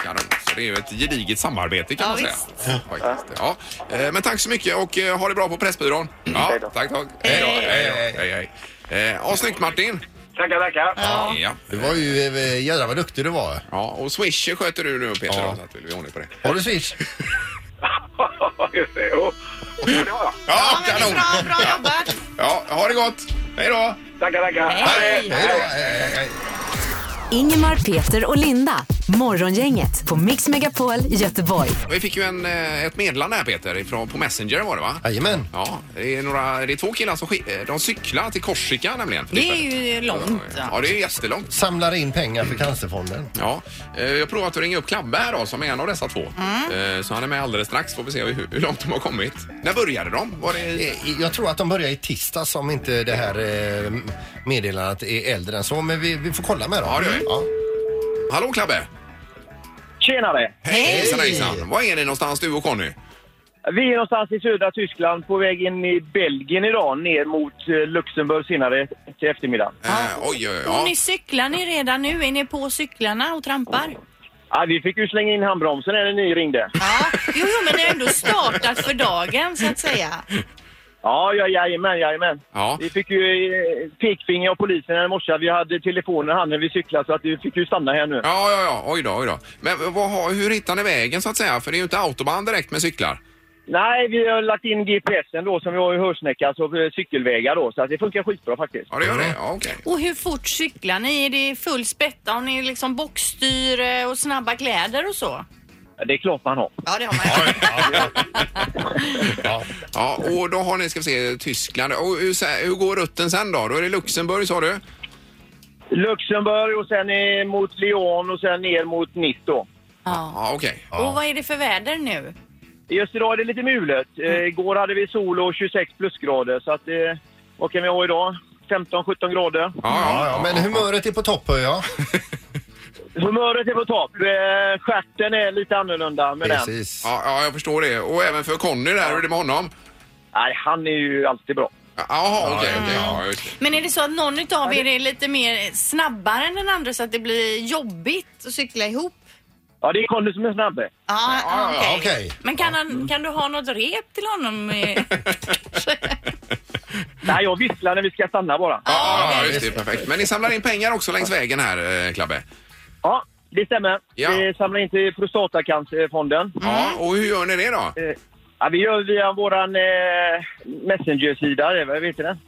[SPEAKER 1] Kanon. Så det är ju ett gediget samarbete kan
[SPEAKER 2] Ja,
[SPEAKER 1] man säga. Faktiskt. Ja. Eh, Men tack så mycket och eh, ha det bra på Pressbyrån. Ja,
[SPEAKER 2] Mm.
[SPEAKER 7] Hej då.
[SPEAKER 1] tack, tack. Hej då. Hej, då. hej, hej. Eh, Ja, snyggt Martin.
[SPEAKER 6] Tackar, tackar.
[SPEAKER 1] Ja. ja.
[SPEAKER 3] Du var ju, eh, jävlar vad duktig du var.
[SPEAKER 1] och Swish sköter du nu Peter
[SPEAKER 3] Ja.
[SPEAKER 1] då, så att vi är ordning på det.
[SPEAKER 3] Har du swish?
[SPEAKER 6] Just det, jo. Ja, det var jag.
[SPEAKER 1] Ja,
[SPEAKER 2] men det är
[SPEAKER 1] kanon!
[SPEAKER 2] bra, bra jobbat!
[SPEAKER 1] Ja, ha det gott! Hej då!
[SPEAKER 6] Tackar, tackar.
[SPEAKER 2] Hej!
[SPEAKER 3] Hej då! Eh, eh, eh.
[SPEAKER 4] Ingemar, Peter och Linda. Morgongänget på Mix Megapol Göteborg.
[SPEAKER 1] Vi fick ju en, eh, ett meddelande här Peter, ifrån, på Messenger var det va?
[SPEAKER 3] Jajamän.
[SPEAKER 1] Ja, det är, några, det är två killar som sk- eh, de cyklar till Korsika nämligen. för
[SPEAKER 2] Det är
[SPEAKER 1] tillfället.
[SPEAKER 2] ju långt.
[SPEAKER 1] Ja, det är jättelångt.
[SPEAKER 3] Samlar in pengar för Cancerfonden.
[SPEAKER 1] Ja, eh, jag har provat att ringa upp Klabbe här då, som är en av dessa två. Eh, Så han är med alldeles strax. Får vi se hur, hur långt de har kommit. När började de? Var det... i-
[SPEAKER 3] I- Jag tror att de börjar i tisdags om inte det här eh, meddelandet är äldre än så. Men vi, vi får kolla med dem.
[SPEAKER 1] Ja, det gör vi. Hallå Klabbe!
[SPEAKER 6] Tjenare!
[SPEAKER 1] Hej! Hejsan, hejsan. Var är ni någonstans du och Conny? Eh,
[SPEAKER 6] Vi är någonstans i södra Tyskland på väg in i Belgien idag ner mot eh, Luxemburg senare till eftermiddag.
[SPEAKER 1] Eh, oj, oj, oj.
[SPEAKER 2] Och
[SPEAKER 1] Ja.
[SPEAKER 2] ni cyklar ni redan nu? Är ni på cyklarna och trampar?
[SPEAKER 6] Ja, vi fick ju slänga in handbromsen när ni ringde.
[SPEAKER 2] Ja, jo, jo men ni har ändå startat för dagen så att säga.
[SPEAKER 6] Ja, ja jajamän, jajamän.
[SPEAKER 1] Ja.
[SPEAKER 6] Vi fick ju eh, pekfinger av polisen här i morse. Vi hade telefonen i handen när vi cyklade så att vi fick ju stanna här nu.
[SPEAKER 1] Ja, ja, ja. Oj då, oj då. Men vad, har- hur hittar ni vägen så att säga? För det är ju inte autobahn direkt med cyklar.
[SPEAKER 6] Nej, vi har lagt in GPSen då som vi har i hörsnäcka, så eh, cykelvägar då. Så att det funkar skitbra faktiskt.
[SPEAKER 1] Ja, det gör det? Ja, okej.
[SPEAKER 2] Och hur fort cyklar ni? Är det full spätta? Har ni liksom bockstyre och snabba kläder och så?
[SPEAKER 6] Ja, Det är klart man har.
[SPEAKER 2] Ja, det har man ju.
[SPEAKER 1] Ja. ja, och då har ni, ska vi se, Tyskland. Och hur, sä- hur går rutten sen då? Då är det Luxemburg sa du?
[SPEAKER 6] Luxemburg och sen eh, mot Lyon och sen ner mot Nice då.
[SPEAKER 2] Ja.
[SPEAKER 1] Ja, okej.
[SPEAKER 2] Och vad är det för väder nu?
[SPEAKER 6] Just idag är det lite mulet. Eh, igår hade vi sol och 26 plusgrader. Så att, eh, vad kan vi ha idag? 15-17 grader.
[SPEAKER 3] Ja, ja, men humöret är på topp hör jag.
[SPEAKER 6] Humöret är på topp. Eh, stjärten är lite annorlunda med den.
[SPEAKER 3] Precis.
[SPEAKER 1] Ja, ja, jag förstår det. Och även för Conny där, hur är det med honom?
[SPEAKER 6] Nej, han är ju alltid bra.
[SPEAKER 1] Jaha, okej, okej. Ja, just det.
[SPEAKER 2] Men är det så att någon utav er är lite mer snabbare än den andra så att det blir jobbigt att cykla ihop?
[SPEAKER 6] Ja, det är Conny som är snabbe.
[SPEAKER 2] Ja,
[SPEAKER 1] Ja, ja,
[SPEAKER 2] okej.
[SPEAKER 3] okej.
[SPEAKER 2] Men kan, han, kan du ha något rep till honom? eh?
[SPEAKER 6] Nej, jag visslar när vi ska stanna bara.
[SPEAKER 1] Ja, ja, just det. Perfekt. Men ni samlar in pengar också längs vägen här, eh, Klabbe?
[SPEAKER 6] Ja, det stämmer.
[SPEAKER 1] Ja.
[SPEAKER 6] Vi samlar in till Prostatacancerfonden.
[SPEAKER 1] Ja, och hur gör ni det då?
[SPEAKER 6] Ja, vi gör via vår eh, Messenger-sida, det, vad heter den?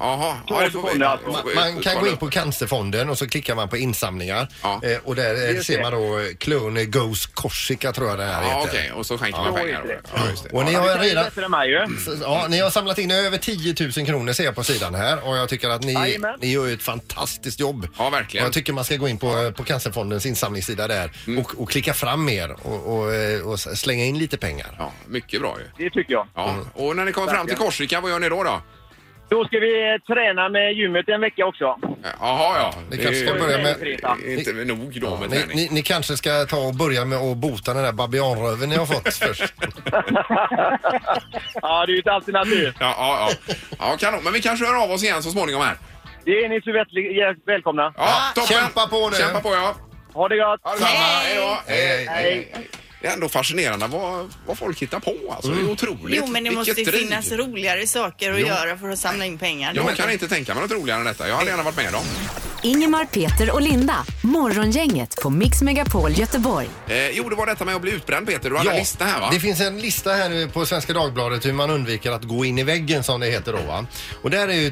[SPEAKER 1] Jaha, ja, det får vi.
[SPEAKER 7] sekunder alltså.
[SPEAKER 1] får vi
[SPEAKER 3] Man kan gå
[SPEAKER 1] kolla
[SPEAKER 3] in
[SPEAKER 1] upp.
[SPEAKER 3] på Cancerfonden och så klickar man på insamlingar.
[SPEAKER 1] Ja.
[SPEAKER 3] Eh, och där eh,
[SPEAKER 7] Just
[SPEAKER 3] ser
[SPEAKER 7] det.
[SPEAKER 3] man då eh, Clone Goes Corsica tror jag det här
[SPEAKER 1] Ja,
[SPEAKER 3] heter.
[SPEAKER 1] okej. Och så skänker man
[SPEAKER 7] Ja,
[SPEAKER 1] pengar.
[SPEAKER 7] just
[SPEAKER 1] Ja, just det.
[SPEAKER 3] Och ni
[SPEAKER 7] Ja,
[SPEAKER 3] har
[SPEAKER 7] det
[SPEAKER 3] ju
[SPEAKER 7] kan ju
[SPEAKER 3] redan...
[SPEAKER 7] bättre än mig ju.
[SPEAKER 3] Ja, ni har samlat in över 10 000 kronor ser jag på sidan här och jag tycker att ni,
[SPEAKER 7] Jajamän.
[SPEAKER 3] ni gör ju ett fantastiskt jobb.
[SPEAKER 1] Ja, verkligen. Mm.
[SPEAKER 3] Och jag tycker man ska gå in på, på Cancerfondens insamlingssida där och, och klicka fram mer och, och, eh, och s- slänga in lite pengar.
[SPEAKER 1] Ja, mycket bra ju.
[SPEAKER 6] Det tycker jag.
[SPEAKER 1] Ja.
[SPEAKER 3] Mm.
[SPEAKER 1] Och när ni kommer fram till Korsika, vad gör ni då? då?
[SPEAKER 6] Då ska vi eh, träna med gymmet en vecka också.
[SPEAKER 1] Eh, Jaha, ja.
[SPEAKER 3] Ni kanske
[SPEAKER 1] är-
[SPEAKER 3] ska börja med...
[SPEAKER 1] är inte nog då med
[SPEAKER 3] Ni,
[SPEAKER 1] träning.
[SPEAKER 3] ni, ni kanske ska ta och börja med att bota den där babianröven ni har fått först.
[SPEAKER 6] Ja, det är ju ett alternativ.
[SPEAKER 1] Ja, ja, ja. ja, kanon. Men vi kanske hör av oss igen så småningom här.
[SPEAKER 6] Det är ni så väl- välkomna.
[SPEAKER 1] Ja, toppen.
[SPEAKER 3] Ah, kämpa på nu.
[SPEAKER 1] Kämpa på, ja.
[SPEAKER 6] Ha det gott!
[SPEAKER 1] Ha detsamma. Hej då.
[SPEAKER 3] Hej, hej.
[SPEAKER 1] Det är ändå fascinerande vad, vad folk hittar på. Alltså.
[SPEAKER 3] Mm.
[SPEAKER 1] Det är otroligt.
[SPEAKER 2] Jo, men det
[SPEAKER 1] Vilket
[SPEAKER 2] måste ju
[SPEAKER 1] driv.
[SPEAKER 2] finnas roligare saker att göra för att samla in pengar.
[SPEAKER 1] Jag kan inte tänka mig något roligare än detta. Jag hade gärna varit med dem.
[SPEAKER 4] Ingemar, Peter och Linda. Morgongänget på Mix Megapol Göteborg.
[SPEAKER 1] Eh, jo, det var detta med att bli utbränd, Peter. Du hade en lista här, va?
[SPEAKER 3] Det finns en lista här nu på Svenska Dagbladet hur man undviker att gå in i väggen som det heter då va. Och där är ju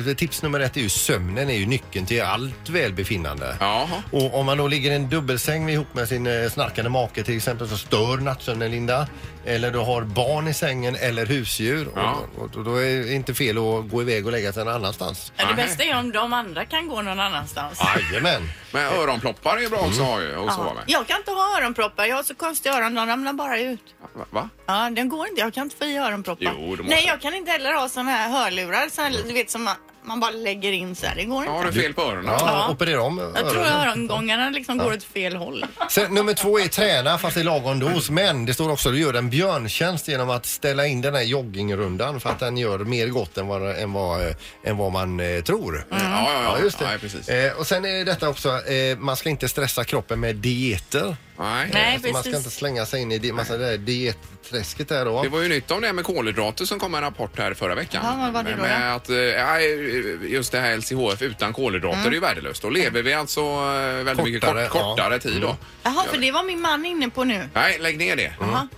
[SPEAKER 3] ett, eh, tips nummer ett är ju sömnen är ju nyckeln till allt välbefinnande.
[SPEAKER 1] Jaha.
[SPEAKER 3] Och om man då ligger i en dubbelsäng ihop med sin eh, snarkande make till exempel så stör nattsömnen Linda. Eller du har barn i sängen eller husdjur.
[SPEAKER 1] Ja.
[SPEAKER 3] Och, och, och då är det inte fel att gå iväg och lägga sig någon annanstans.
[SPEAKER 2] Ja, Det
[SPEAKER 1] Nej.
[SPEAKER 2] bästa är om de andra kan gå någon annanstans.
[SPEAKER 3] Jajamän.
[SPEAKER 1] Men öronploppar är ju bra också att ha ju, och sova med.
[SPEAKER 2] Jag kan inte ha öronproppar. Jag har så konstiga öron. De ramlar bara ut.
[SPEAKER 1] Va- Va?
[SPEAKER 2] Ja, den går inte. Jag kan inte få i öronproppar.
[SPEAKER 1] Jo, det måste-
[SPEAKER 2] Nej, jag kan inte heller ha såna här hörlurar. Såna här, du vet, som man, man bara lägger in så här. Det går
[SPEAKER 1] Ja,
[SPEAKER 2] inte.
[SPEAKER 1] har du fel på öronen?
[SPEAKER 3] Ja, Operera om
[SPEAKER 2] Jag tror
[SPEAKER 3] öronen.
[SPEAKER 2] örongångarna liksom går åt fel håll.
[SPEAKER 3] Sen, nummer två är träna fast i lagom dos. Men det står också att du gör en björntjänst genom att ställa in den här joggingrundan för att den gör mer gott än vad, än vad, eh, än vad man eh, tror.
[SPEAKER 1] Ja, ja, ja.
[SPEAKER 3] Ja, just det.
[SPEAKER 1] Nej, precis.
[SPEAKER 3] Eh, och sen är detta också, eh, man ska inte stressa kroppen med dieter.
[SPEAKER 1] Nej.
[SPEAKER 2] Nej.
[SPEAKER 3] Alltså, man ska
[SPEAKER 2] precis.
[SPEAKER 3] inte slänga sig in i di- massa det där dietträsket där då.
[SPEAKER 1] Det var ju nytt om det här med kolhydrater som kom en rapport här förra veckan.
[SPEAKER 2] Ja, vad var det då,
[SPEAKER 1] med
[SPEAKER 2] då?
[SPEAKER 1] att, eh, nej, just det här LCHF utan kolhydrater är ju värdelöst. Då lever vi alltså eh, väldigt mycket
[SPEAKER 3] Kortare,
[SPEAKER 1] kort,
[SPEAKER 3] ja.
[SPEAKER 1] kortare tid då.
[SPEAKER 2] Jaha, för det var min man inne på nu.
[SPEAKER 1] Nej, lägg ner det.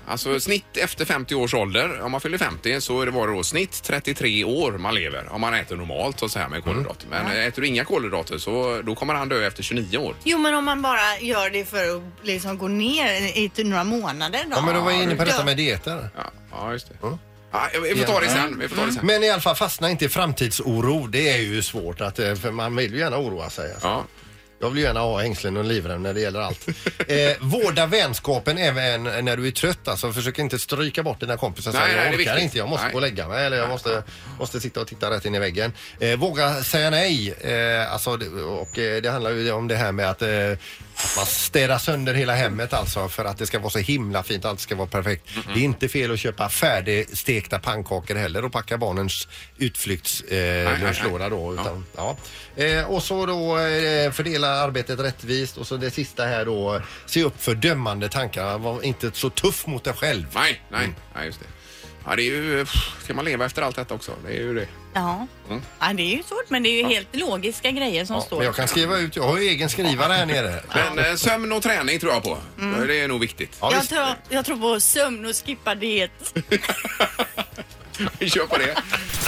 [SPEAKER 1] Alltså snitt efter 50 års ålder, om man fyller 50 så är det bara då snitt 33 år man lever om man äter normalt och så här med kolhydrater. Men äter du inga kolhydrater så då kommer han dö efter 29 år.
[SPEAKER 2] Jo, men om man bara gör det för att liksom gå ner i till några månader då.
[SPEAKER 3] Ja, men då var jag inne på detta
[SPEAKER 2] Ja.
[SPEAKER 3] med dieter.
[SPEAKER 1] Ja, ja just det. Mm. Ja, Mm. vi får ta det sen. Vi får ta det sen.
[SPEAKER 3] Men i alla fall, fastna inte i framtidsoro. Det är ju svårt, att, eh, för man vill ju gärna oroa sig. Alltså.
[SPEAKER 1] Ja.
[SPEAKER 3] Jag vill gärna ha hängslen och livrem när det gäller allt. Eh, vårda vänskapen även när du är trött. Alltså, försök inte stryka bort dina kompisar. och
[SPEAKER 1] Nej,
[SPEAKER 3] säga,
[SPEAKER 1] nej, det är
[SPEAKER 3] jag orkar
[SPEAKER 1] viktigt.
[SPEAKER 3] inte, jag måste
[SPEAKER 1] Nej.
[SPEAKER 3] gå och lägga mig eller jag måste, måste sitta och titta rätt in i väggen. Eh, våga säga nej. Eh, alltså, det- och, eh, det handlar ju om det här med att eh, att man städar sönder hela hemmet alltså för att det ska vara så himla fint, allt ska vara perfekt. Det är inte fel att köpa färdigstekta pannkakor heller och packa barnens utflyktslunch. Eh,
[SPEAKER 1] nej,
[SPEAKER 3] lunchlåda göra då. Utan, ja. Eh, och så då eh, fördela arbetet rättvist och så det sista här då. Se upp för dömande tankar. Var inte så tuff mot dig själv.
[SPEAKER 1] Nej, nej, nej, just det. Ja, det är ju... pff, Ska man leva efter allt detta också? Det är ju det.
[SPEAKER 2] Ja. ja, det är ju svårt, men det är ju helt logiska grejer som
[SPEAKER 3] Mm. Ja, men
[SPEAKER 2] står.
[SPEAKER 3] jag kan skriva ut. Jag har ju egen skrivare här nere.
[SPEAKER 1] Men eh, sömn och träning tror jag på. Det är nog viktigt.
[SPEAKER 3] Ja,
[SPEAKER 2] jag,
[SPEAKER 3] visst.
[SPEAKER 2] tror, jag tror på sömn och skippa diet.
[SPEAKER 1] Vi kör på det.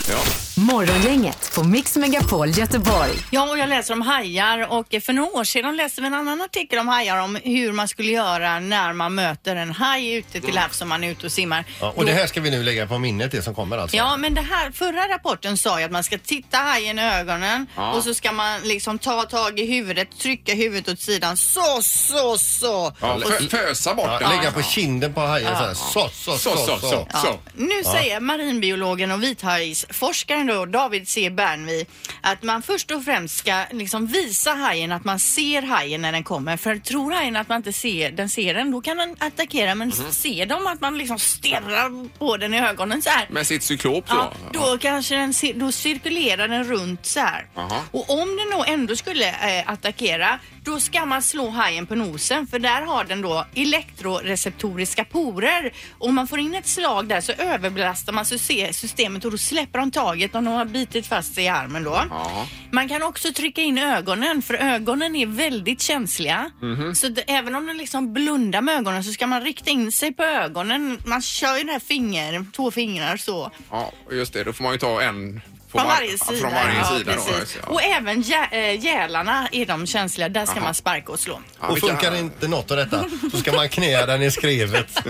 [SPEAKER 1] Ja.
[SPEAKER 4] Morgongänget på Mix Megapol Göteborg.
[SPEAKER 2] Ja, och jag läser om hajar och för några år sedan läste vi en annan artikel om hajar om hur man skulle göra när man möter en haj ute
[SPEAKER 3] Mm.
[SPEAKER 2] till havs om man är ute och simmar.
[SPEAKER 3] Ja, och det här ska vi nu lägga på minnet det som kommer alltså.
[SPEAKER 2] Ja, men det här, förra rapporten sa ju att man ska titta hajen i ögonen
[SPEAKER 1] Ja.
[SPEAKER 2] och så ska man liksom ta tag i huvudet, trycka huvudet åt sidan. Så, så, så.
[SPEAKER 1] Ja, fö- fösa bort
[SPEAKER 3] Ja,
[SPEAKER 1] den.
[SPEAKER 3] lägga på kinden på hajen så här. Så, så,
[SPEAKER 1] Så, så, så.
[SPEAKER 2] Ja.
[SPEAKER 1] så.
[SPEAKER 2] Nu säger marinbiologen och vithajsforskaren då, David C. Bernvi att man först och främst ska liksom visa hajen att man ser hajen när den kommer. För tror hajen att man inte ser den, ser den då kan den attackera. Men ser de att man liksom stirrar på den i ögonen så här.
[SPEAKER 1] Med sitt cyklop då.
[SPEAKER 2] Ja, då kanske den cir- då cirkulerar den runt så här.
[SPEAKER 1] Aha.
[SPEAKER 2] Och om den då ändå skulle eh, attackera, då ska man slå hajen på nosen för där har den då elektroreceptoriska porer. Om man får in ett slag där så överbelastar man syse- systemet och då släpper de taget om de har bitit fast sig i armen då.
[SPEAKER 1] Ja.
[SPEAKER 2] Man kan också trycka in ögonen för ögonen är väldigt känsliga. Så d- även om den liksom blundar med ögonen så ska man rikta in sig på ögonen. Man kör ju det här finger, två fingrar så.
[SPEAKER 1] ja, just det. Då får man ju ta en På
[SPEAKER 2] Från
[SPEAKER 1] var-
[SPEAKER 2] varje sida.
[SPEAKER 1] Från varje
[SPEAKER 2] ja,
[SPEAKER 1] sida då,
[SPEAKER 2] precis.
[SPEAKER 1] ja.
[SPEAKER 2] Och även jä- eh, gälarna är de känsliga. Där ska man sparka och slå.
[SPEAKER 1] Ja,
[SPEAKER 3] Och
[SPEAKER 1] vilka-
[SPEAKER 3] funkar inte något av detta så ska man knäa den i skrevet.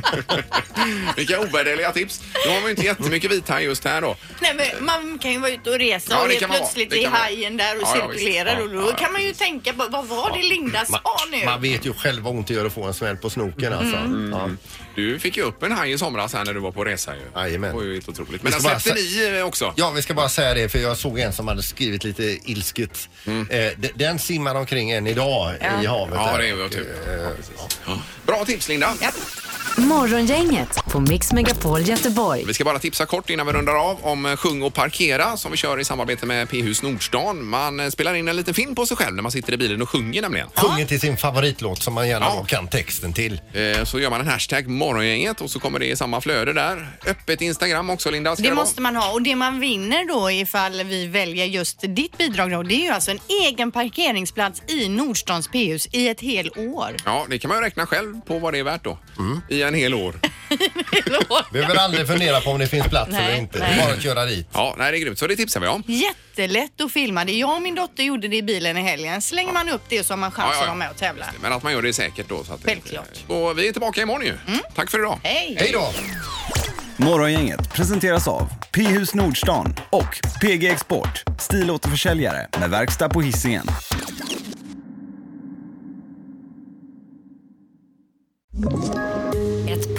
[SPEAKER 1] Mm. Vilka ovärderliga tips. Nu har vi ju inte jättemycket vithaj just här då.
[SPEAKER 2] Nej, men man kan ju vara ute och resa
[SPEAKER 1] Ja, det
[SPEAKER 2] och helt
[SPEAKER 1] kan man vara.
[SPEAKER 2] plötsligt
[SPEAKER 1] Det
[SPEAKER 2] är
[SPEAKER 1] kan man.
[SPEAKER 2] hajen där och
[SPEAKER 1] Ja, ja, visst.
[SPEAKER 2] cirkulerar
[SPEAKER 1] Ja,
[SPEAKER 2] och då
[SPEAKER 1] ja,
[SPEAKER 2] kan man ju tänka på vad var det Linda sa nu? Mm.
[SPEAKER 3] Man vet ju själv vad ont det gör att få en smäll på snoken alltså. Ja.
[SPEAKER 1] Du fick ju upp en haj i somras här när du var på resa ju.
[SPEAKER 3] Jajamän.
[SPEAKER 1] Det var ju helt otroligt. Men
[SPEAKER 3] Vi
[SPEAKER 1] den
[SPEAKER 3] ska bara
[SPEAKER 1] släppte ni eh, också.
[SPEAKER 3] Ja, vi ska bara säga det för jag såg en som hade skrivit lite ilsket. Eh, d- den simmar omkring än idag i havet.
[SPEAKER 1] Mm. Ja,
[SPEAKER 3] där. Eh,
[SPEAKER 1] det är typ- ju tur. Ja, precis. Ja. Bra tips Linda.
[SPEAKER 4] Morgongänget på Mix Megapol Göteborg.
[SPEAKER 1] Vi ska bara tipsa kort innan vi rundar av om eh, Sjung och parkera som vi kör i samarbete med P-hus Nordstan. Man eh, spelar in en liten film på sig själv när man sitter i bilen och sjunger nämligen.
[SPEAKER 3] Sjunger till sin favoritlåt som man gärna
[SPEAKER 1] Ja.
[SPEAKER 3] då kan texten till.
[SPEAKER 1] Eh, Så gör man en hashtag morgongänget och så kommer det i samma flöde där. Öppet Instagram också Linda. ska
[SPEAKER 2] Det
[SPEAKER 1] vara.
[SPEAKER 2] måste man ha och det man vinner då ifall vi väljer just ditt bidrag då, det är ju alltså en egen parkeringsplats i Nordstans P-hus i ett helt år.
[SPEAKER 1] Ja, det kan man ju räkna själv på vad det är värt då. I en hel år.
[SPEAKER 3] Behöver aldrig fundera på om det finns plats
[SPEAKER 2] Nej,
[SPEAKER 3] eller inte.
[SPEAKER 2] nej.
[SPEAKER 3] Bara att köra dit.
[SPEAKER 1] Ja, nej, det är grymt. Så det tipsar vi om.
[SPEAKER 2] Jättelätt att filma det. Jag och min dotter gjorde det i bilen i helgen. Slänger man upp det så har man chans att vara med och tävla.
[SPEAKER 1] Men att man gör det säkert då. Så att det-
[SPEAKER 2] Självklart.
[SPEAKER 1] Och vi är tillbaka imorgon ju. Tack för idag.
[SPEAKER 2] Hej!
[SPEAKER 3] Hej då!
[SPEAKER 8] Morgongänget presenteras av P-hus Nordstan och PG Export, stilåterförsäljare med verkstad på Hisingen.
[SPEAKER 9] Ett